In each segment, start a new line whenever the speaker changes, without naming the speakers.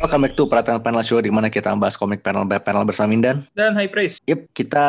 Welcome back to Perhatian Panel Show di mana kita membahas komik panel by panel bersama Mindan.
dan high praise.
Yep, kita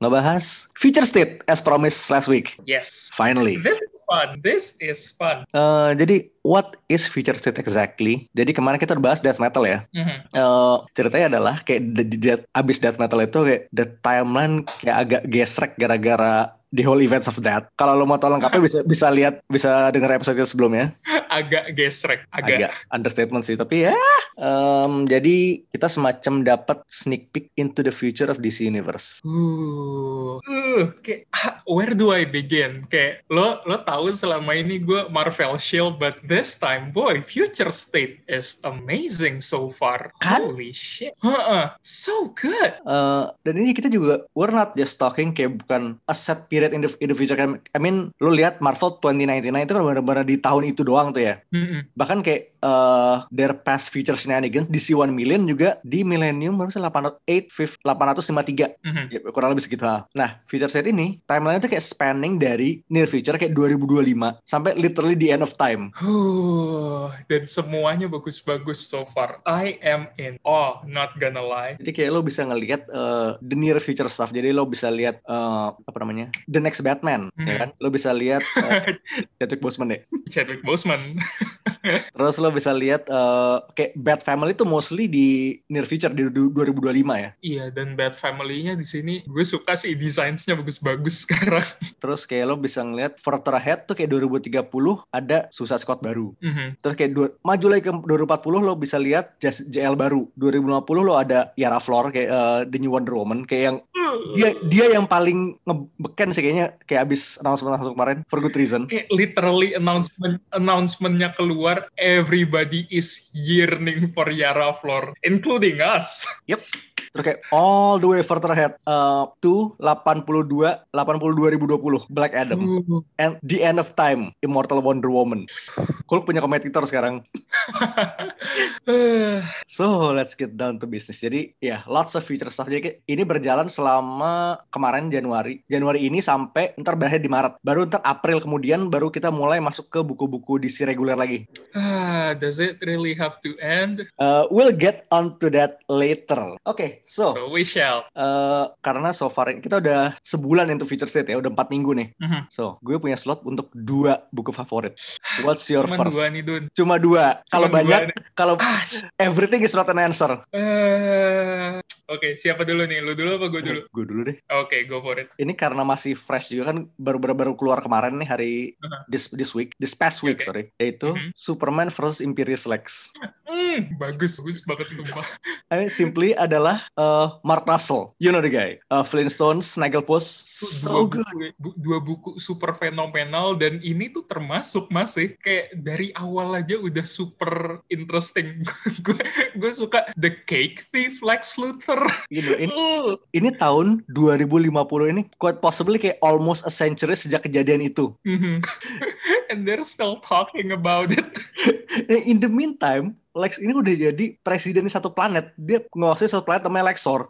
ngebahas Future State as promised last week.
Yes.
Finally.
This is fun. This is fun.
Eh, jadi what is Future State exactly? Jadi kemarin kita udah bahas death metal ya.
Mhm.
Eh, ceritanya adalah kayak di, di- di- abis death metal itu kayak the timeline kayak agak gesrek gara-gara the whole events of that. Kalau lo mau tau lengkapnya bisa bisa lihat bisa denger episode kita sebelumnya.
Agak gesrek, agak.
agak understatement sih tapi ya em, jadi kita semacam dapat sneak peek into the future of DC universe
Uh, uh, kayak ah, where do I begin? Kayak lo lo tahu selama ini gue Marvel Shield, but this time boy, Future State is amazing so far.
Kan?
Holy shit, Heeh. so good.
Eh, dan ini kita juga we're not just talking kayak bukan a set period in the, in the future I mean lu lihat Marvel 2099 itu kan benar-benar di tahun itu doang tuh ya
Mhm.
bahkan kayak eh their past future shenanigans DC 1 million juga di millennium baru 853
Mhm.
Ya, kurang lebih segitu. hal. Nah, future state ini timeline itu kayak spanning dari near future kayak 2025 sampai literally the end of time.
Huh, dan semuanya bagus-bagus so far. I am in awe, not gonna lie.
Jadi kayak lo bisa ngelihat uh, the near future stuff. Jadi lo bisa lihat uh, apa namanya? The next Batman, ya
Hmm.
kan? Lo bisa lihat uh, Chadwick Boseman deh.
Chadwick Boseman.
Terus lo bisa lihat uh, kayak Bat Family itu mostly di near future di du- 2025 ya.
Iya, dan Bad Family-nya di sini gue suka sih desainnya bagus-bagus sekarang.
Terus kayak lo bisa ngelihat further ahead tuh kayak 2030 ada Suicide Squad baru.
Mhm.
Terus kayak dua, maju lagi ke 2040 lo bisa lihat Jas- JL baru. 2050 lo ada Yara Flor kayak eh, The New Wonder Woman kayak yang dia dia yang paling ngebeken sih kayaknya kayak abis langsung langsung kemarin for good reason.
Kayak literally announcement announcementnya keluar, everybody is yearning for Yara Flor, including us.
Terus kayak all the way further ahead eh, to 82 80 2020 Black Adam
Uh,
and the end of time Immortal Wonder Woman. Hulk punya kompetitor sekarang.
eh,
So let's get down to business. Jadi ya lots of future stuff. Jadi kayak ini berjalan selama kemarin Januari, Januari ini sampai ntar berakhir di Maret. Baru ntar April kemudian baru kita mulai masuk ke buku-buku DC reguler lagi.
ah, does it really have to end?
Uh, we'll get on to that later. Oke, so
So we shall.
uh, karena so far ini- kita udah sebulan into future state ya, udah empat minggu nih.
Mhm.
So gue punya slot untuk dua buku favorit. What's your
Cuman
first?
dua nih, Dun.
Cuma dua. Kalau
Cuman dua
banyak,
nih.
kalau
Ah, shit.
everything is not an answer.
Eh, Oke, siapa dulu nih? Lu dulu apa gue dulu?
Gue dulu deh.
Oke, go for it.
ini karena masih fresh juga kan baru baru, baru keluar kemarin nih hari
Uh-huh.
this this week this past week
Oke.
sorry yaitu
Mhm.
Superman versus Imperius Lex.
Hmm, bagus, bagus banget sumpah.
I mean, simply adalah uh, Mark Russell, you know the guy, uh, Flintstones, Snagglepuss,
Itu
so
dua
good.
buku ya, bu- dua buku super fenomenal dan ini tuh termasuk masih kayak dari awal aja udah super interesting gue gue suka The Cake Thief Lex Luthor
You know, ini,
Uh,
ini tahun 2050 ini quite possibly kayak almost a century sejak kejadian itu.
mhm. and they're still talking about it
Nah, In the meantime, Lex ini udah jadi presiden satu planet. Dia nguasain satu planet namanya Lexor.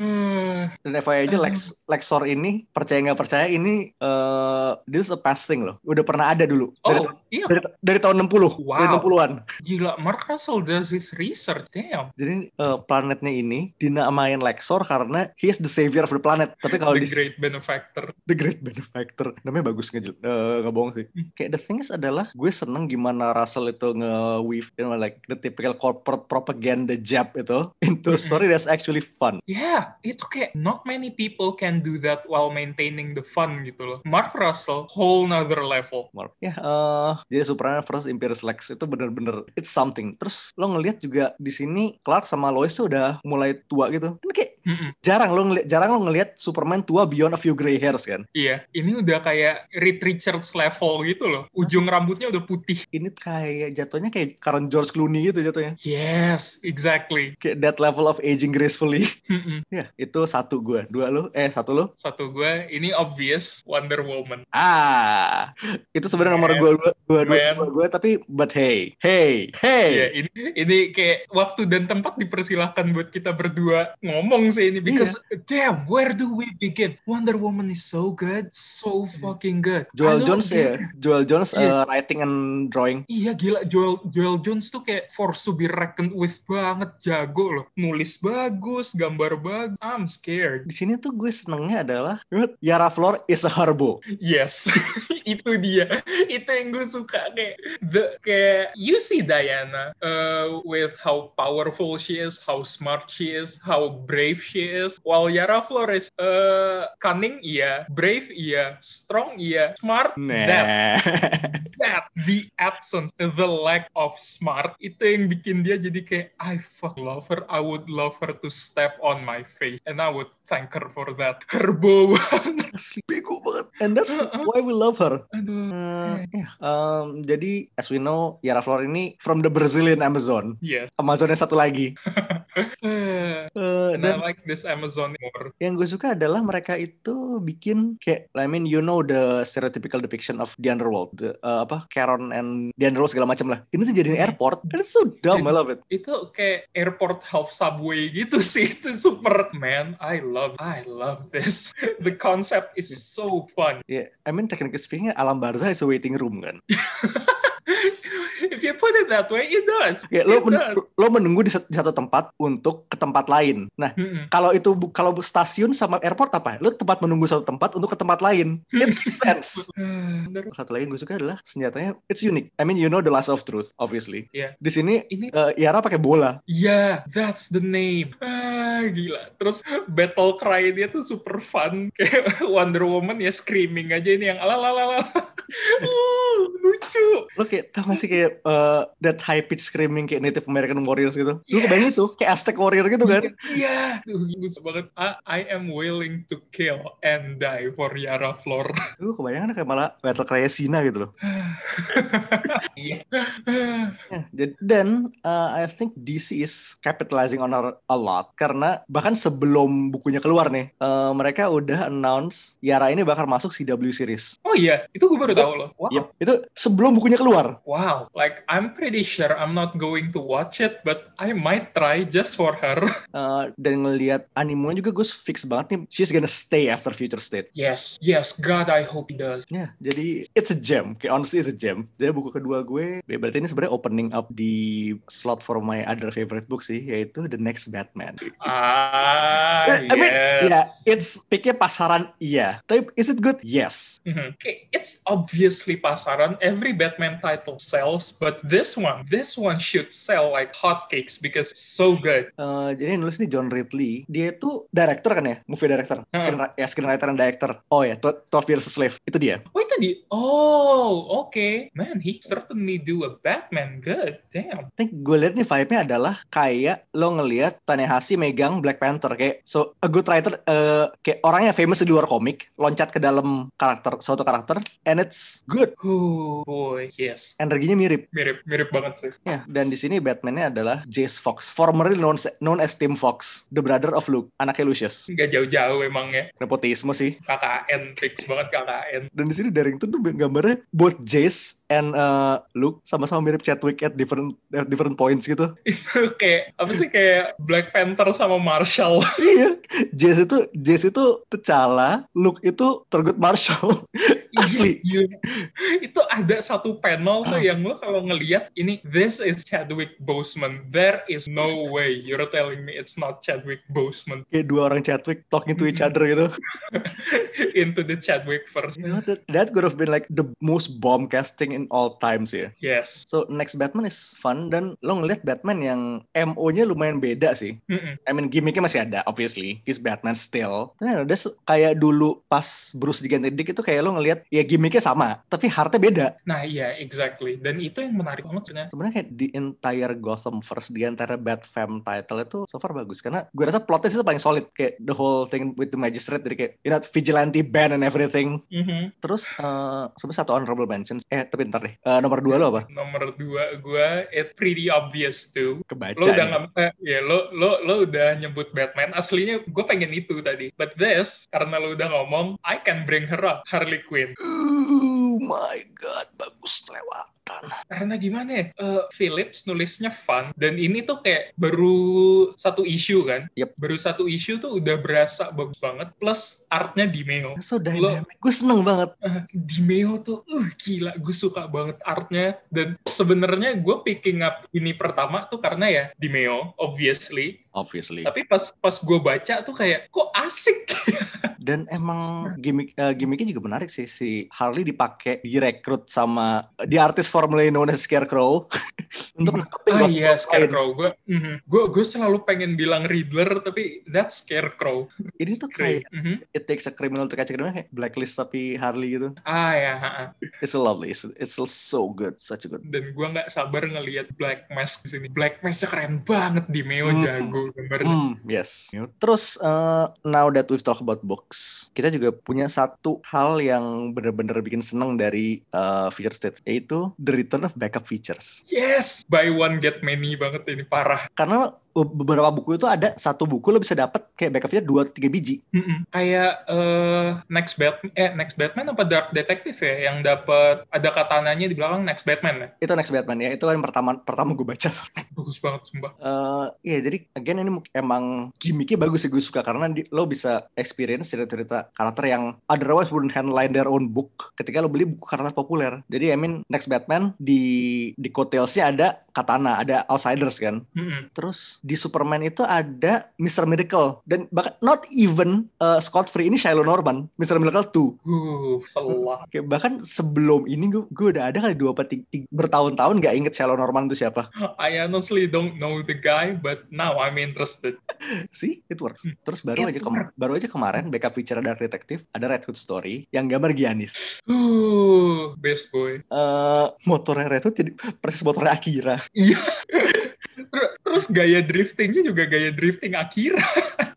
Hmm,
Dan FYI aja Lex, Lexor ini percaya nggak percaya ini eh this is a past thing loh. Udah pernah ada dulu dari,
oh iya
dari, dari tahun 60, dari
Wow.
60-an.
gila Mark Russell does his research damn
Jadi eh, planetnya ini dinamain Lexor karena he is the savior of the planet. Tapi kalau
the
di
great benefactor
the great benefactor namanya bagus nggak jel- eh, nggak bohong sih.
Hmm.
Kayak the thing is adalah gue seneng gimana Russell itu nge-weave you know, like the typical corporate propaganda jab itu into a story that's actually fun.
Ya, itu kayak not many people can do that while maintaining the fun gitu loh. Mark Russell, whole nother level.
Marvel. Ya, eh, jadi Superman versus Imperius Lex itu bener-bener it's something. Terus lo ngelihat juga di sini Clark sama Lois tuh udah mulai tua gitu. Ini kayak
Mm-mm.
jarang lo ngeli- jarang lo ngelihat Superman tua beyond a few gray hairs kan.
Iya, ini udah kayak Reed Richards level gitu loh. Ujung rambutnya udah putih.
Ini kayak jatuhnya kayak Karen George Clooney gitu jatuhnya.
Yes, exactly.
Kayak that level of aging gracefully.
Mm-mm.
ya, itu satu gue. Dua lo, eh satu lo.
Satu gue, ini obvious Wonder Woman.
Ah, itu sebenarnya nomor
Man.
gue dua, dua, dua,
Man.
dua gue. Tapi but hey, hey, hey.
Iya, ini ini kayak waktu dan tempat dipersilahkan buat kita berdua ngomong sih ini because
Iya.
damn where do we begin? Wonder Woman is so good, so fucking good.
Iya.
I
Joel
don't
Jones
get-
ya, Joel Jones
Iya.
uh, writing and drawing.
Iya gila Joel Joel Jones tuh kayak for to be reckoned with banget jago loh. Nulis bagus, gambar bagus. I'm scared.
Di sini tuh gue senengnya adalah Yara Flor is a harbo.
Yes. itu dia. Itu yang gue suka kayak the kayak you see Diana uh, with how powerful she is, how smart she is, how brave she is. While Yara Flores uh, cunning iya, brave iya, strong iya, smart that
Nah,
that the absence, the lack of smart itu yang bikin dia jadi kayak I fuck love her, I would love her to step on my face and I would thank her for that. Herbo banget.
asli bego banget. And that's why we love her.
Aduh.
Uh, yeah. um, jadi as we know Yara Flor ini from the Brazilian Amazon.
Yes.
Amazonnya satu lagi.
Eh,
Uh,
And I
dan
like this Amazon more.
yang gue suka adalah mereka itu bikin kayak I mean you know the stereotypical depiction of the underworld, the, uh, apa Charon and the underworld segala macam lah. Ini tuh jadiin airport. And it's so dumb, I love it.
Itu kayak airport half subway gitu sih. Itu super man. I love, I love this. The concept is so fun.
Yeah, I mean technically speaking alam barzah is a waiting room kan.
If you put it that way, it does.
Ya, lo,
it
men-
does.
lo menunggu di sat- di satu tempat untuk ke tempat lain. Nah,
Mm-mm.
kalau itu bu- kalau stasiun sama airport apa? Lo tempat menunggu satu tempat untuk ke tempat lain. It makes sense.
Eh, bener.
Satu lagi yang gue suka adalah senjatanya it's unique. I mean you know the last of truth obviously.
Iya.
Di sini
Ini
eh, Yara pakai bola.
Ya, that's the name. Ah, gila. Terus battle cry dia tuh super fun. Kayak Wonder Woman ya screaming aja ini yang ala ala ala. Uh, lucu.
Lo kayak tau gak sih kayak eh, that high pitch screaming kayak Native American warriors gitu. Lo kebayang
Yes.
itu kayak Aztec warrior gitu kan?
Iya. Duh, bagus banget. I, I am willing to kill and die for Yara Flor.
Lo kebayang kayak malah battle cry Sina gitu loh.
Iya.
Ya, jadi- Dan uh, I think DC is capitalizing on her a lot karena bahkan sebelum bukunya keluar nih, uh, mereka udah announce Yara ini bakal masuk CW series.
oh iya, itu gue baru tahu loh. Wow.
Yep, itu sebelum bukunya keluar.
Wow, like I'm pretty sure I'm not going to watch it, but I might try just for her.
Uh, dan ngelihat animenya juga gue fix banget nih, she's gonna stay after Future State.
Yes, yes, God, I hope he does.
Ya, jadi it's a gem. Kayak honestly it's a gem. Jadi buku kedua gue, ya berarti ini sebenarnya opening up di slot for my other favorite book sih, yaitu The Next Batman.
Ah,
Eh, I mean,
yes.
Ya, it's picknya pasaran iya. Tapi is it good? Yes.
Mhm. Okay, it's obviously pasaran. Every Batman title sells, but this one, this one should sell like hotcakes because it's so good.
Eh, jadi yang nulis ini John Ridley. Dia itu director kan ya, movie director.
Heeh.
Screen- ya, screenwriter dan director. Oh ya, Tw- 12 Years a Slave. Itu dia.
Oh, itu di. Oh, okay. Man, he certainly do a Batman good. Damn.
I think gue liat nih vibe-nya adalah kayak lo ngelihat Tanehasi megang Black Panther kayak so a good writer eh, kayak orangnya famous di luar komik loncat ke dalam karakter suatu karakter and it's good
Oh boy, yes.
energinya mirip
Mirip, mirip banget sih.
ya dan di sini Batman-nya adalah Jace Fox formerly known, known as Tim Fox the brother of Luke anaknya Lucius
Nggak jauh-jauh ya. emangnya.
nepotisme sih
KKN, fix banget KKN.
dan di sini Darrington tuh gambarnya both Jace and uh, Luke sama-sama mirip Chadwick at different at different points gitu.
Itu kayak, apa sih, kayak Black Panther sama Marshall.
iya, Jace itu Jace itu T'Challa, Luke itu Thurgood Marshall. Asli.
Iya, iya. itu ada satu panel tuh yang lo kalau ngeliat ini this is Chadwick Boseman there is no way you're telling me it's not Chadwick Boseman
Kayak dua orang Chadwick talking to each other gitu.
into the Chadwick first
You know, that, that could have been like the most bomb casting in all times ya.
yes
So next Batman is fun dan lo ngeliat Batman yang MO-nya lumayan beda sih.
Mm-mm.
I mean gimmicknya masih ada obviously he's Batman still tapi ada kayak dulu pas Bruce diganti Dick itu kayak lo ngelihat mikir ya gimmicknya sama tapi heartnya beda
Nah iya, exactly. Dan itu yang menarik banget sebenarnya.
sebenarnya kayak di entire Gotham first di antara Bad Fam title itu so far bagus karena gue rasa plotnya itu paling solid kayak the whole thing with the magistrate dari kayak you know vigilante ban and everything
Mhm.
terus eh sebenarnya satu honorable mention eh tapi ntar deh Eh, nomor dua lo apa
Nomor dua gue, it pretty obvious too.
kebaca
Lo udah
nih.
nggak eh, ya lo lo lo udah nyebut Batman aslinya gue pengen itu tadi but this karena lo udah ngomong I can bring her up Harley Quinn
oh my god bagus lewatan
karena gimana ya eh, Phillips nulisnya fun dan ini tuh kayak baru satu isu kan
Yep.
baru satu isu tuh udah berasa bagus banget plus artnya Dimeo
so dynamic gue seneng banget
Eh, Dimeo tuh uh, gila gue suka banget artnya dan sebenarnya gue picking up ini pertama tuh karena ya Dimeo obviously
obviously
tapi pas pas gue baca tuh kayak kok asik
dan emang gimmick eh, gimmicknya juga menarik sih si Harley dipakai direkrut sama di artis formerly known as Scarecrow untuk nangkepin
ah
Gotham
iya
lain.
scarecrow gue gue gue mhm. selalu pengen bilang riddler tapi that's scarecrow
ini tuh kayak
Great. Mhm.
it takes a criminal to catch a criminal kayak blacklist tapi Harley gitu
ah ya ha, ha.
it's so lovely it's, it's so good such a good
dan gue nggak sabar ngelihat black mask di sini black masknya keren banget di meo
Hmm.
jago gambarnya
Hmm, yes. Terus eh, now that we've talked about books, kita juga punya satu hal yang bener-bener bikin seneng dari eh, feature stage yaitu the return of backup features.
yes buy one get many banget ini parah
Karena be- beberapa buku itu ada satu buku lo bisa dapet kayak backup feature dua tiga biji.
Mhm. kayak eh, next batman eh next batman apa dark detective ya yang dapat ada katananya di belakang next batman ya
Itu next Batman ya. Itu kan pertama pertama gue baca.
bagus banget sumpah
Eh, Iya jadi again ini mungkin- emang gimmicknya bagus sih gue suka karena di- lo bisa experience cerita-cerita karakter yang otherwise wouldn't handline their own book ketika lo beli buku karakter populer jadi I mean next Batman di di coattailsnya ada Katana ada Outsiders kan
Mhm.
terus di Superman itu ada Mr. Miracle dan bahkan not even eh, Scott Free ini Shiloh Norman Mr. Miracle 2
uh selah
Kayak bahkan sebelum ini gue, gue udah ada kali dua apa tiga- tiga- bertahun-tahun gak inget Shiloh Norman itu siapa
I honestly don't know the guy, but now I'm interested.
See, it works.
Hmm.
Terus baru
It
aja kema- baru aja kemarin backup feature Dark Detective ada Red Hood Story yang gambar Giannis.
Uh, best boy.
Eh motornya Red Hood jadi persis motornya Akira.
Ter- Terus gaya driftingnya juga gaya drifting Akira.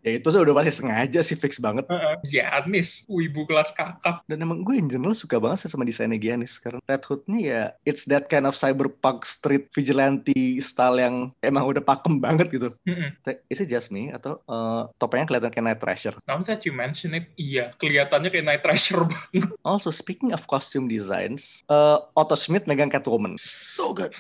Ya itu sih udah pasti sengaja sih fix banget.
Giannis, wibu kelas kakap.
Dan emang gue in general suka banget sih sama desainnya Giannis karena Red Hoodnya ya it's that kind of cyberpunk street vigilante style yang emang udah pakem banget gitu.
Mm-mm.
Te- Is it just me atau eh, topengnya kelihatan kayak Night Thrasher?
Now that you mention it, iya. Kelihatannya kayak Night Thrasher banget.
Also speaking of costume designs, eh, Otto Schmidt megang Catwoman. So good.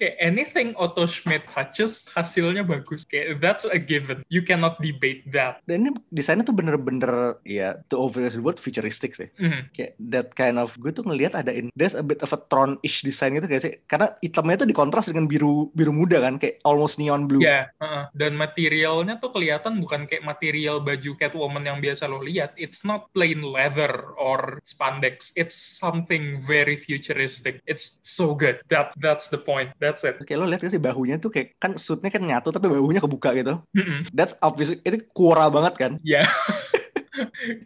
Kayak anything Otto Schmidt touches, hasilnya bagus. Kayak that's a given. You cannot debate that.
dan ini desainnya tuh bener-bener ya to overuse the word futuristic sih
Mm.
kayak that kind of gue tuh ngelihat ada in there's a bit of a Tron-ish design gitu kayak sih karena hitamnya tuh dikontras dengan biru biru muda kan kayak almost neon blue
Ya, heeh. dan materialnya tuh kelihatan bukan kayak material baju Catwoman yang biasa lo lihat. It's not plain leather or spandex. It's something very futuristic. It's so good. That that's the point. That's it.
kayak lo lihat gak sih bahunya tuh kayak kan suitnya kan nyatu tapi bahunya kebuka gitu
Mm-mm.
that's obviously itu kura banget kan
Ya.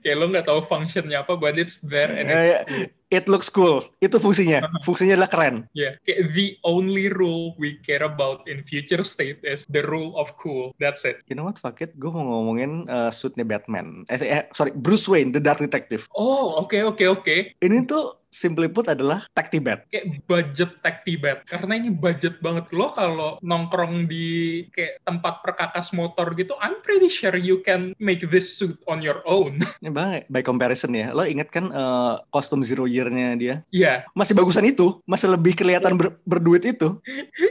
kayak lo nggak tahu functionnya apa, but it's there and it's
Eh, it looks cool itu fungsinya fungsinya adalah keren
yeah. Kayak the only rule we care about in future state is the rule of cool. That's it.
you know what fuck it gue mau ngomongin eh, suitnya Batman eh, eh, sorry Bruce Wayne the Dark Detective
Oh, oke oke oke.
ini tuh simply put adalah tech Tibet
kayak budget tech Tibet karena ini budget banget lo kalau nongkrong di kayak tempat perkakas motor gitu I'm pretty sure you can make this suit on your own
Ini banget, by comparison ya. Lo inget kan eh, kostum zero year-nya dia?
ya
Masih bagusan itu, masih lebih kelihatan ber- berduit itu.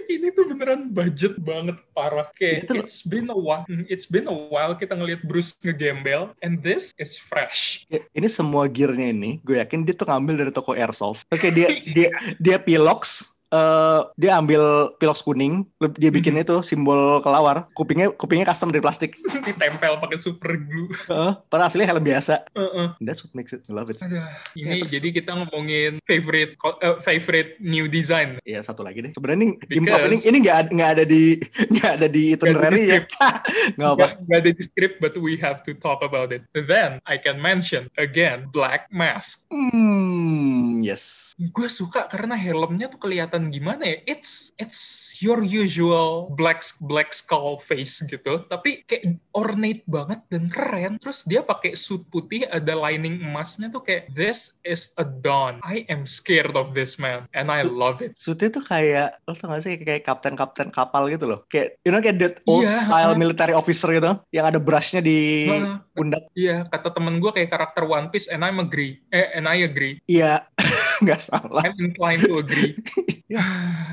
ini tuh beneran budget banget parah kayak
Itu-
it's been a while hmm, it's been a while kita ngelihat Bruce ngegembel and this is fresh
Ya, Ini semua gearnya ini, gue yakin dia tuh ngambil dari toko airsoft. Oke, dia dia dia pilox, eh, dia ambil pilox kuning, lu- dia bikin itu simbol kelawar. Kupingnya kupingnya custom dari plastik.
ditempel pakai super glue.
Heeh, padahal aslinya helm biasa.
Heeh.
That's what makes it. I love it.
Aduh, ini
Ya, terus-
jadi kita ngomongin favorite ko- eh, favorite new design.
Iya satu lagi deh. Sebenarnya ini
Because-
improv ini ini nggak ad- nggak ada di nggak ada di itinerary ya. Nggak apa.
Gak, gak ada di script, but we have to talk about it. Then I can mention again Black Mask.
Hmm, yes.
gue suka karena helmnya tuh kelihatan gimana ya it's it's your usual black black skull face gitu tapi kayak ornate banget dan keren terus dia pakai suit putih ada lining emasnya tuh kayak this is a don I am scared of this man and I
Suit-
love it
Suitnya tuh kayak lo tau gak sih kayak kapten-kapten kapal gitu loh. Kayak you know kayak that old
Iya,
style
ha.
military officer gitu yang ada brushnya di
Nah,
pundak.
Iya, kata temen gue kayak karakter One Piece, and I agree, eh, and I agree,
Iya, nggak salah.
I'm inclined to agree.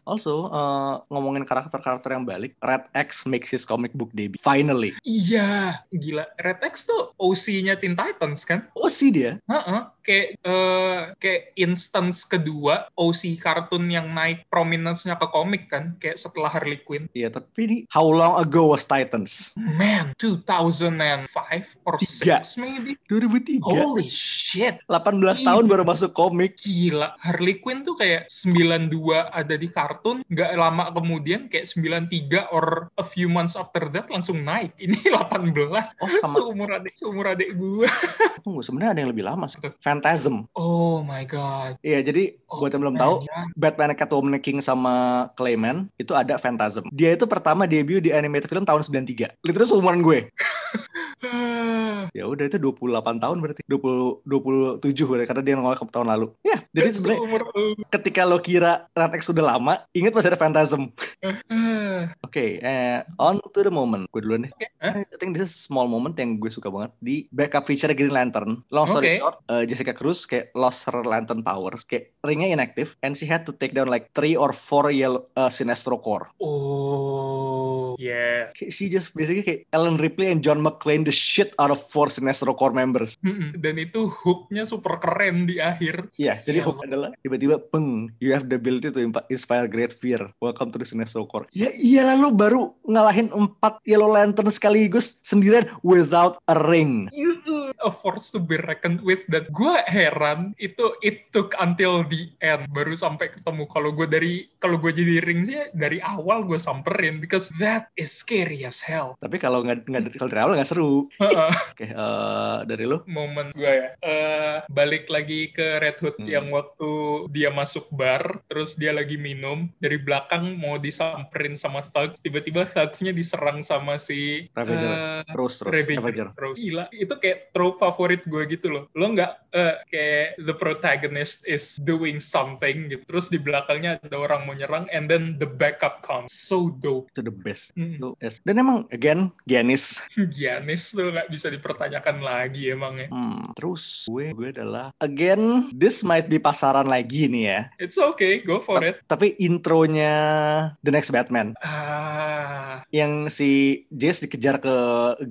Also, uh, ngomongin karakter-karakter yang balik, Red X makes his comic book debut. Finally.
Iya, gila. Red X tuh OC-nya Teen Titans kan?
Oh sih dia.
Heeh, kayak eh, kayak instance kedua OC kartun yang naik prominence-nya ke komik kan, kayak setelah Harley Quinn.
Iya, tapi ini How Long Ago Was Titans?
Man, 2005 or 6
Tiga.
maybe.
2003.
Holy shit,
18
iya.
tahun baru masuk komik.
gila. Harley Quinn tuh kayak 92 ada di kartun, nggak lama kemudian kayak 93 or a few months after that langsung naik. Ini 18,
Oh, sama
seumur adik, seumur adik gue.
tunggu, sebenarnya ada yang lebih lama sih. Phantasm.
Oh my god.
Iya, jadi
Oh,
buat yang belum
man,
tahu,
ya.
Batman Catwoman King sama Clayman itu ada Phantasm. Dia itu pertama debut di animated film tahun 93. Literally seumuran gue.
Hmm.
Ya udah itu 28 tahun berarti. 20 27 berarti karena dia nolak ke tahun lalu. Ya, jadi sebenarnya
Seumur lu.
ketika lo kira Red X udah lama, ingat masih ada Phantasm.
Ah.
Oke, eh, on to the moment. Gue duluan deh.
Hah?
I think this is small moment yang gue suka banget di backup feature Green Lantern. Long story
Oke.
short, eh, Jessica Cruz kayak lost her lantern powers, kayak ringnya inactive, and she had to take down like three or four yellow eh, Sinestro core.
Oh, yeah.
Kayak she just basically kayak Ellen Ripley and John McClane the shit out of four Sinestro core members.
Mm-mm. Dan itu hooknya super keren di akhir.
Iya, jadi
Iya.
hook adalah tiba-tiba peng, you have the ability to impa- inspire great fear. Welcome to the Sinestro Corps. Ya iyalah lu baru ngalahin empat Yellow Lantern sekaligus sendirian without a ring.
Itu a force to be reckoned with. Dan gue heran itu it took until the end baru sampai ketemu. Kalau gue dari kalau gue jadi ring sih dari awal gue samperin because that is scary as hell.
Tapi kalau nggak nggak kalau dari awal nggak seru.
Heeh.
Oke, eh, dari lu
momen gue ya. Eh, balik lagi ke Red Hood
Hmm.
yang waktu dia masuk bar, terus dia lagi minum, dari belakang mau disamperin sama Thugs, tiba-tiba Thugsnya diserang sama si
Ravager.
eh,
Rose Rose
Ravager.
Ravager.
Rose. Gila, itu kayak trope favorit gue gitu loh. Lo nggak eh, kayak the protagonist is doing something gitu, terus di belakangnya ada orang mau nyerang, and then the backup comes. So dope.
Itu the best.
Hmm.
Itu, yes. Dan emang again Giannis.
Giannis tuh nggak bisa dipertanyakan lagi emangnya.
Hmm, terus gue gue adalah again this might be pasaran lagi nih ya.
It's okay, go for it.
Tapi intronya The Next Batman
Ah,
yang si Jess dikejar ke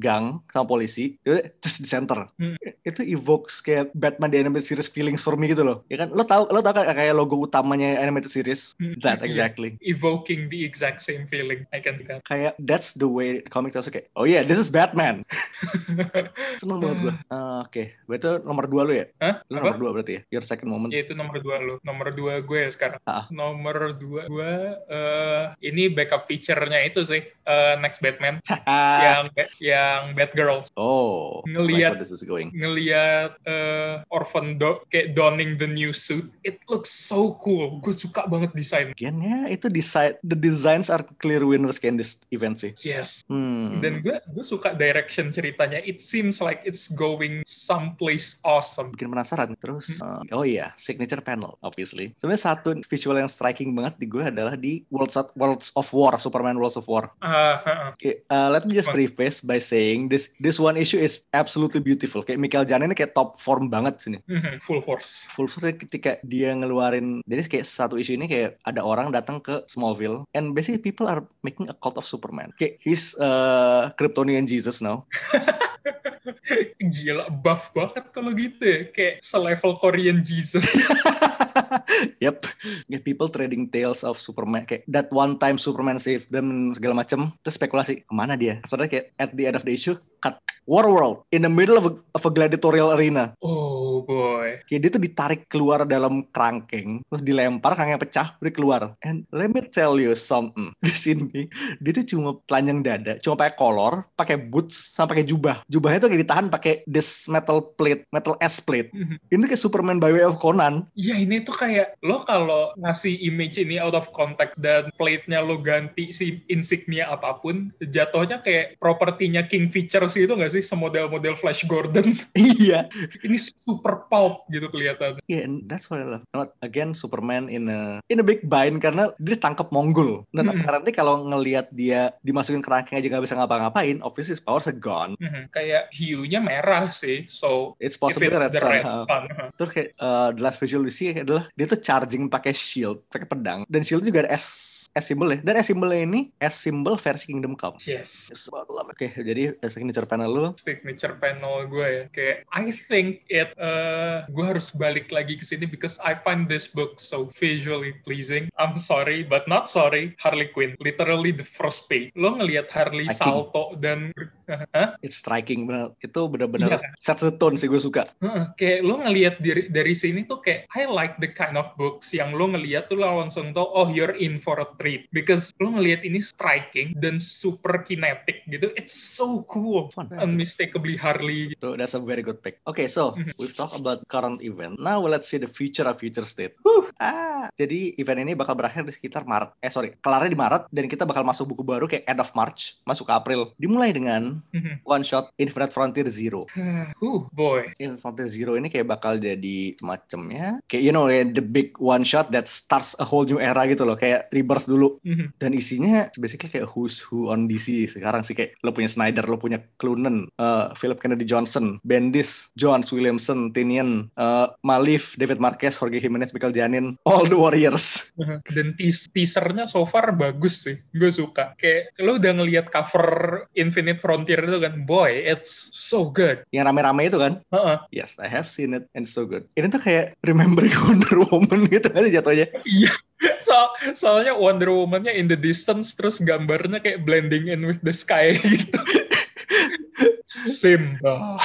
gang sama polisi itu just di center
Hmm.
itu evokes kayak Batman the animated series feelings for me gitu loh ya kan lo tau lo tau kan kayak logo utamanya animated series
Hmm,
that
iya.
exactly
evoking the exact same feeling. I can see that.
kayak that's the way comic tells you, kayak oh yeah this is Batman seneng banget gue oke berarti lo nomor dua lo ya
Hmm. Hah?
lo
Apa?
nomor dua berarti ya your second moment
Ya, itu nomor dua lo. Nomor dua gue ya sekarang.
Ah.
Nomor dua gue, eh, ini backup feature-nya itu sih, eh, Next Batman,
Haha.
yang yang Batgirl.
oh I like
Iya. Ngeliat.
where this is going
Ngeliat eh, Orphan Do kayak donning the new suit, it looks so cool. Gue suka banget desain.
Again, ya itu design the designs are clear winners in this event sih
Yes.
hmm.
Dan gue gue suka direction ceritanya. It seems like it's going someplace awesome.
bikin penasaran terus uh, oh iya signature panel obviously sebenarnya satu visual yang striking banget di gue adalah di Worlds of, Worlds of War Superman Worlds of War
Ah, ah, ah.
Oke, uh, let me just
Apa?
preface by saying this this one issue is absolutely beautiful kayak Michael Janin ini kayak top form banget sini
Mhm, full force.
full force ketika dia ngeluarin jadi kayak satu isu ini kayak ada orang datang ke Smallville and basically people are making a cult of Superman kayak he's uh, Kryptonian Jesus now
Gila, buff banget kalau gitu ya. Kayak selevel Korean Jesus.
yep. Yeah, people trading tales of Superman kayak that one time Superman saved them segala macem. Terus spekulasi kemana dia? After that kayak at the end of the issue cut War World in the middle of a, of a gladiatorial arena.
Oh boy.
Kayak dia tuh ditarik keluar dalam kerangkeng, terus dilempar, kerangkeng pecah, udah keluar. And let me tell you something. Di sini dia tuh cuma telanjang dada, cuma pakai kolor, pakai boots, sama pakai jubah. Jubahnya tuh kayak ditahan pakai this metal plate, metal S plate. Ini tuh kayak Superman by way of Conan.
Ya ini tuh kayak lo kalau ngasih image ini out of context dan plate-nya lo ganti si insignia apapun, jatuhnya kayak propertinya King Features gitu nggak sih semodel-model Flash Gordon?
Iya.
ini super pulp gitu kelihatan.
Yeah, and that's what I love. Not again Superman in a in a big bind karena dia tangkap Mongol. Dan
Hmm.
apparently kalau ngelihat dia dimasukin kerangkeng aja nggak bisa ngapa-ngapain, obviously his powers are gone.
Mhm, Kayak hue-nya merah sih, so
It's
if
possibly
it's
red
the
sun.
red
huh?
sun.
Terus kayak uh, the last visual we see adalah dia tuh charging pakai shield, pakai pedang. Dan shield juga ada S S symbol ya. Dan S symbol ini S symbol versi Kingdom Come.
Yes.
It's about love. Oke, jadi signature panel lu
signature panel gue ya kayak I think it eh gue harus balik lagi ke sini because I find this book so visually pleasing I'm sorry but not sorry Harley Quinn literally the first page lo ngelihat Harley
Aking.
salto dan
it's striking bener. Itu bener-bener
Iya
set the tone sih gue suka.
Heeh, kayak lo ngelihat dari, dari sini tuh kayak I like the kind of books yang lo ngelihat tuh lo langsung tau oh you're in for a treat because lo ngelihat ini striking dan super kinetic gitu it's so cool
Fun.
unmistakably Harley
So that's a very good pick. Okay, so
Mhm.
we've talked about current event. Now let's see the future of future state.
Huh.
Ah, jadi event ini bakal berakhir di sekitar Maret. Eh sorry, kelarnya di Maret dan kita bakal masuk buku baru kayak end of March, masuk ke April. Dimulai dengan
Mhm.
one shot Infinite Frontier Zero.
Huh, boy
Infinite Frontier Zero ini kayak bakal jadi semacamnya kayak you know kayak the big one shot that starts a whole new era gitu loh kayak reverse dulu
Mhm.
dan isinya basically kayak who's who on DC sekarang sih kayak lo punya Snyder lo punya Clunen uh, Philip Kennedy Johnson Bendis Johns Williamson Tinian uh, Malif David Marquez Jorge Jimenez Michael Janin all the warriors
Dan teas- teasernya so far bagus sih, gue suka. Kayak lo udah ngelihat cover Infinite Frontier itu kan, boy, it's so good.
yang rame-rame itu kan
Heeh.
yes I have seen it and so good ini tuh kayak remembering Wonder Woman gitu aja jatuhnya
Iya. So, soalnya Wonder Woman-nya in the distance, terus gambarnya kayak blending in with the sky gitu. Simba.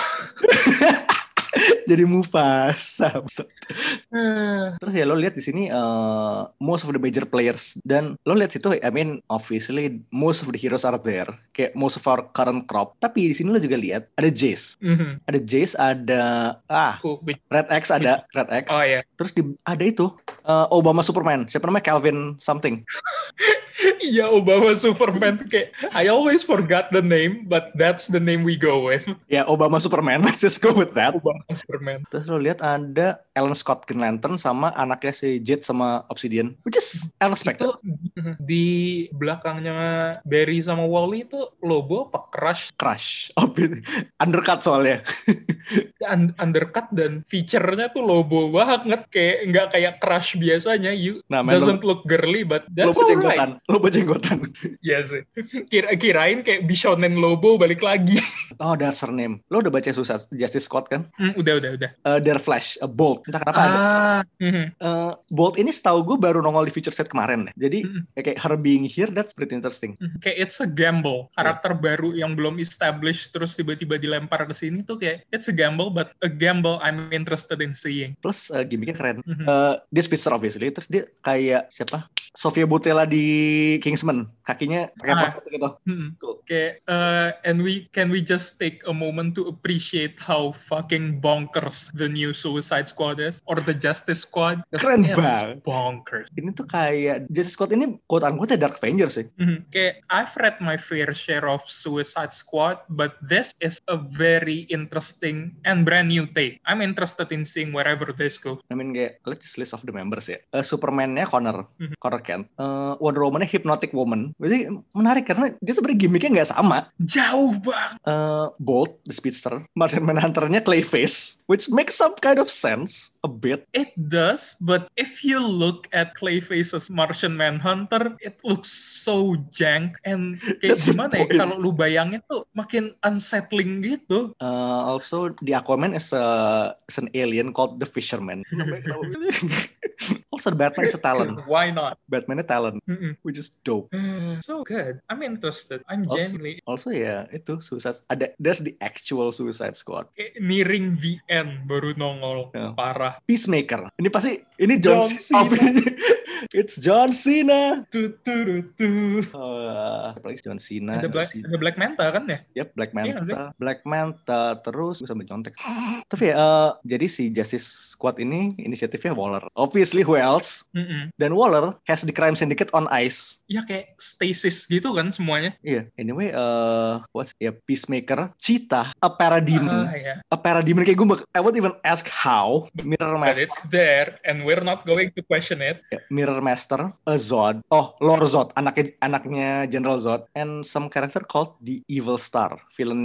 jadi Mufasa
Hmm.
Terus ya lo lihat di sini eh, most of the major players dan lo lihat situ I mean obviously most of the heroes are there kayak most of our current crop tapi di sini lo juga lihat ada Jace
Mhm.
ada Jace ada ah
Aku be-
Red X ada Red X
Oh ya,
terus di, ada itu eh, Obama Superman siapa namanya Calvin something
iya Obama Superman kayak I always forgot the name, but that's the name we go with.
ya Obama Superman let's just go with that
Obama Superman.
terus lo lihat ada Alan Scott Green Lantern sama anaknya si Jade sama Obsidian which is unexpected
itu di belakangnya Barry sama Wally itu Lobo apa Crush
crush Obvi- undercut soalnya
un- undercut dan feature-nya tuh Lobo banget kayak nggak kayak Crush biasanya you
nah men, lo-
doesn't look girly but
lo
that's alright
bejenggotan lo bejenggotan
ya sih Kira kirain kayak Bishonen Lobo balik lagi
Oh, their surname. Lo udah baca susah Justice Scott kan?
Hmm, udah udah udah
Uh, their Flash, a Bolt. Entah kenapa ada.
ah mhm.
Uh, Bolt ini setahu gue baru nongol di feature set kemarin deh. Jadi
Mm.
ya kayak her being here, that's pretty interesting.
Mhm, kayak it's a gamble karakter baru yang belum established terus tiba-tiba dilempar ke sini tuh kayak it's a gamble but a gamble I'm interested in seeing
Plus uh, gimmicknya keren.
Mhm.
Uh, dia speedster obviously. Terus dia kayak siapa? Sofia Boutella di Kingsman. Kakinya pakai
Ah.
protes gitu.
Hmm.
Cool.
Okay, uh, and we can we just take a moment to appreciate how fucking bonkers the new Suicide Squad is or the Justice Squad? 'Cause
Keren
it's
banget.
Bonkers.
Ini tuh kayak Justice Scott ini quote unquote Dark Avenger sih.
Mhm. Kayak I've read my fair share of Suicide Squad, but this is a very interesting and brand new take. I'm interested in seeing wherever this goes.
I mean kayak let's just list of the members ya. Uh, Eh, Superman-nya Connor,
Mhm.
Connor kan eh, Wonder Woman-nya Hypnotic Woman jadi menarik karena dia sebenarnya gimmicknya nggak sama
Jauh banget.
eh Bolt the Speedster Martian Manhunter-nya Clayface which makes some kind of sense a bit
It does, but if you look at Clayface's Martian Manhunter, it looks so jank and kayak
That's the
gimana ya
point.
kalau lu bayangin tuh makin unsettling gitu.
Eh, also the Aquaman is a is an alien called the Fisherman also the Batman is a talent
Gitu, Why not?
Batman-nya talent
Mm-mm.
which is dope
So good. I'm interested. I'm
Also-
genuinely
also ya itu Suicide ada there's the actual Suicide Squad
eh, nearing the end baru nongol.
Yeah.
Parah.
Peacemaker. Ini pasti ini John,
John
Cena.
Cena.
It's John Cena.
Tu, tu, tu, tu.
Eh, Apalagi John Cena,
Ada
John
Black,
Cena.
ada Black Manta kan ya?
Yep, Black
Iya
Manta,
nggak
Black Manta terus gue sampai nyontek. Tapi ya, eh, jadi si Justice Squad ini inisiatifnya Waller. Obviously who else?
Mm-mm.
Dan Waller has the crime syndicate on ice.
Ya kayak stasis gitu kan semuanya.
Iya. Anyway, eh what's ya Peacemaker, Cheetah, a Parademon,
Ah, ya.
a Parademon kayak gue, bak- I won't even ask how. Mirror
But
Master,
it's there and we're not going to question it.
Ya, Mirror Master, a Zod, oh Lord Zod, anaknya anaknya General Zod, and some character called the Evil Star,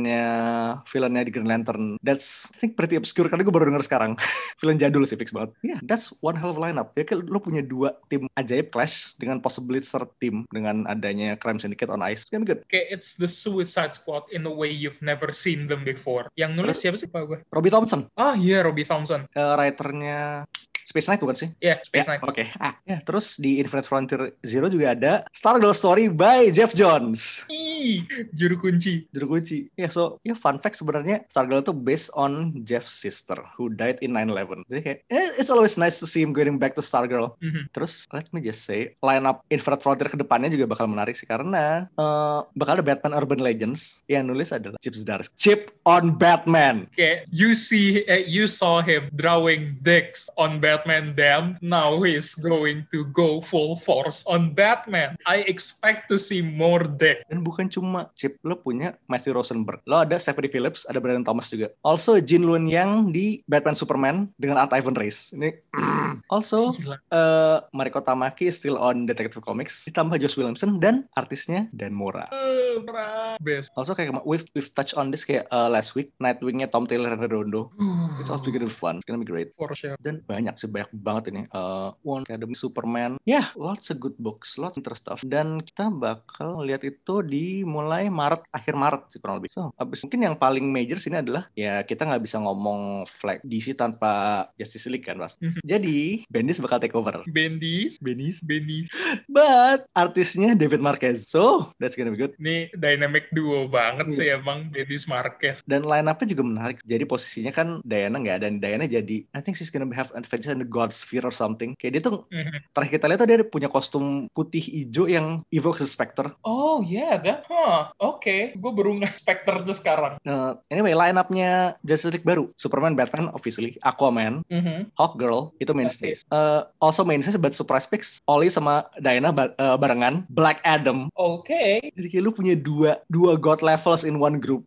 villainnya villainnya di Green Lantern. That's I think pretty obscure karena gue baru denger sekarang. Villain jadul sih fix banget. Yeah, that's one hell of a lineup. Ya kan lo punya dua tim ajaib clash dengan possibly third team dengan adanya Crime Syndicate on Ice. Kan good.
Kayak it's the Suicide Squad in a way you've never seen them before. Yang nulis siapa sih pak gue?
Robbie Thompson,
Ah iya Robbie Thompson.
eh, writernya Space Knight bukan sih?
Ya Space
Ya,
Knight.
Oke. Ah, ya, terus di Infinite Frontier Zero juga ada Star Girl Story by Jeff Johns.
Ih, juru kunci.
juru kunci. Ya so, ya fun fact sebenarnya Stargirl itu based on Jeff's sister who died in 9/11. Jadi kayak eh, it's always nice to see him getting back to Stargirl.
Mhm.
Terus let me just say, line up Infinite Frontier ke depannya juga bakal menarik sih karena eh, bakal ada Batman Urban Legends yang nulis adalah Chip Zdarsky. Chip on Batman.
Kayak you see, eh, you saw him drawing dicks on Batman Dam. Now he's going to go full force on Batman. I expect to see more dick.
Dan bukan cuma Chip, lo punya Matthew Rosenberg. Lo ada Stephanie Phillips, ada Brandon Thomas juga. Also Jin Luen Yang di Batman Superman dengan Art Ivan Reis. Ini also
Gila.
eh Mariko Tamaki is still on Detective Comics ditambah Josh Williamson dan artisnya Dan Mora.
Eh, bra. Best.
Also kayak kema- we've, we've touched on this kayak eh, last week Nightwing-nya Tom Taylor and Redondo. It's also gonna be fun. It's gonna be great.
For sure.
Dan banyak sih banyak banget ini. Eh, One Academy, Superman. Yeah, lots of good books, lots of interesting stuff. Dan kita bakal lihat itu di mulai Maret, akhir Maret sih kurang lebih. So, abis mungkin yang paling major sini adalah ya kita nggak bisa ngomong flag DC tanpa Justice League kan, Mas.
Mhm.
Jadi, Bendis bakal take over.
Bendis,
Bendis
Bendis.
But artisnya David Marquez. So, that's gonna be good.
Ini dynamic duo
Iya.
banget sih emang Bendis Marquez.
Dan line up-nya juga menarik. Jadi posisinya kan Diana nggak ada. Dan Diana jadi, I think she's gonna have an adventure in the God Sphere or something. Kayak dia tuh,
Mhm.
terakhir kita lihat tuh dia ada punya kostum putih hijau yang evokes the Spectre.
Oh yeah, that, huh, oke. Gue baru nge-expect terus sekarang.
Nah, anyway, line up-nya Justice League baru. Superman, Batman, obviously. Aquaman,
Mhm.
Hawkgirl, itu mainstays. Eh, also mainstays, but surprise picks. Ollie sama Diana ba- eh, barengan. Black Adam.
Oke,
Jadi kayak lu punya dua, dua God levels in one group.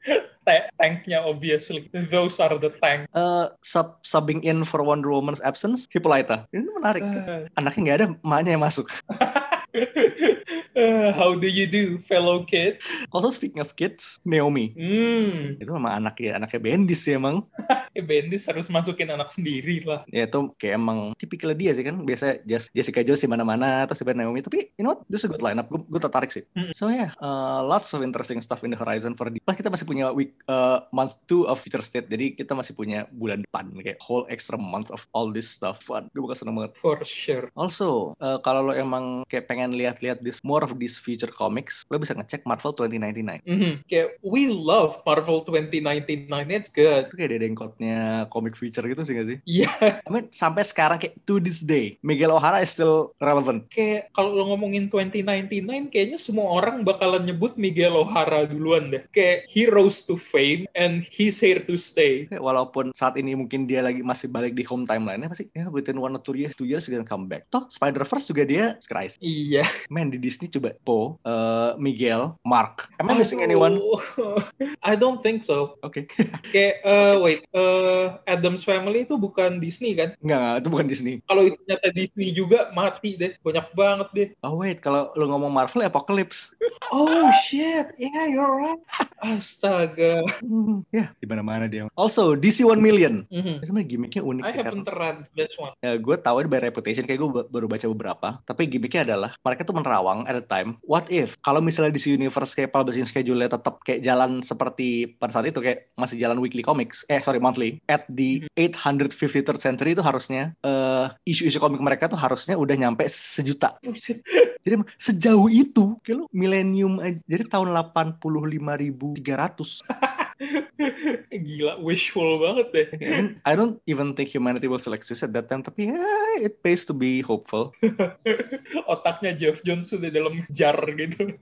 Ta- tanknya obviously. Those are the tank.
eh sub subbing in for Wonder Woman's absence Hippolyta ini tuh menarik
Ah.
anaknya nggak ada emaknya yang masuk
Ah, how do you do, fellow kid?
also speaking of kids Naomi
Hmm,
itu memang anak ya anaknya Bendis sih emang
eh, Bendis harus masukin anak sendiri lah.
ya itu kayak emang tipikalnya dia sih kan biasa Jas- Jessica Jones di mana-mana terus tiba Naomi tapi you know what this is a good lineup gue gue tertarik sih
Mm-mm.
so yeah uh, lots of interesting stuff in the horizon for the plus kita masih punya week uh, month two of future state jadi kita masih punya bulan depan kayak whole extra month of all this stuff Wah, gue bakal seneng banget
For sure.
Also, eh, kalau lo emang kayak pengen lihat-lihat this more of these future comics, lo bisa ngecek Marvel 2099.
Mhm. Kayak, we love Marvel 2099. It's good.
Itu kayak dedengkotnya comic future gitu sih gak sih?
Iya.
I mean, sampai sekarang kayak to this day, Miguel O'Hara is still relevant.
kayak kalau lo ngomongin 2099 kayaknya semua orang bakalan nyebut Miguel O'Hara duluan deh. Kayak he rose to fame and he's here to stay.
Kayak walaupun saat ini mungkin dia lagi masih balik di home timeline-nya, pasti ya within one or two years, two years he's gonna come back. Toh, Spider-Verse juga dia, Christ.
Iya.
Man di Disney coba Poe, eh, Miguel, Mark. Am I missing anyone?
Aduh. I don't think so.
Oke.
Kayak, eh, wait, eh, Adam's Family itu bukan Disney kan?
Enggak, enggak, itu bukan Disney.
Kalau itu nyata Disney juga mati deh, banyak banget deh.
Oh wait, kalau lu ngomong Marvel Apocalypse.
Oh shit, yeah you're right. Astaga.
Hmm, ya, di mana-mana dia. Also, DC 1 million. Ya,
Mhm.
Sebenarnya gimmicknya unik
I
sih karena-
haven't read this one.
Ya, gue tahu ini by reputation kayak gue ba- baru baca beberapa. Tapi gimmicknya adalah mereka tuh menerawang at the time. What if kalau misalnya DC Universe kayak publishing schedule-nya tetap kayak jalan seperti pada saat itu kayak masih jalan weekly comics, eh sorry monthly. At the 853rd century itu harusnya eh, isu-isu komik mereka tuh harusnya udah nyampe sejuta.
Buset.
Jadi emang sejauh itu kayak lu milenium aja- jadi tahun 85.300.
Gila, wishful banget deh.
And I don't even think humanity will still exist at that time tapi ya it pays to be hopeful.
Otaknya Jeff Jones sudah dalam jar gitu.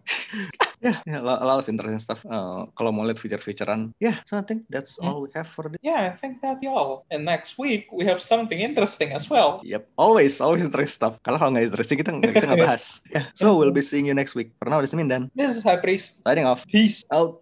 Yeah, yeah, lo- a lot of interesting stuff. Uh, kalau mau lihat feature-featurean, yeah, so I think that's
Hmm.
all we have for this.
Yeah, I think that y'all. And next week we have something interesting as well.
Yep, always, always interesting stuff. Kalau kalau nggak interesting kita nggak- kita nggak bahas. Yeah, so we'll be seeing you next week. Karena udah Senin dan
This is High Priest.
signing off
Peace.
out.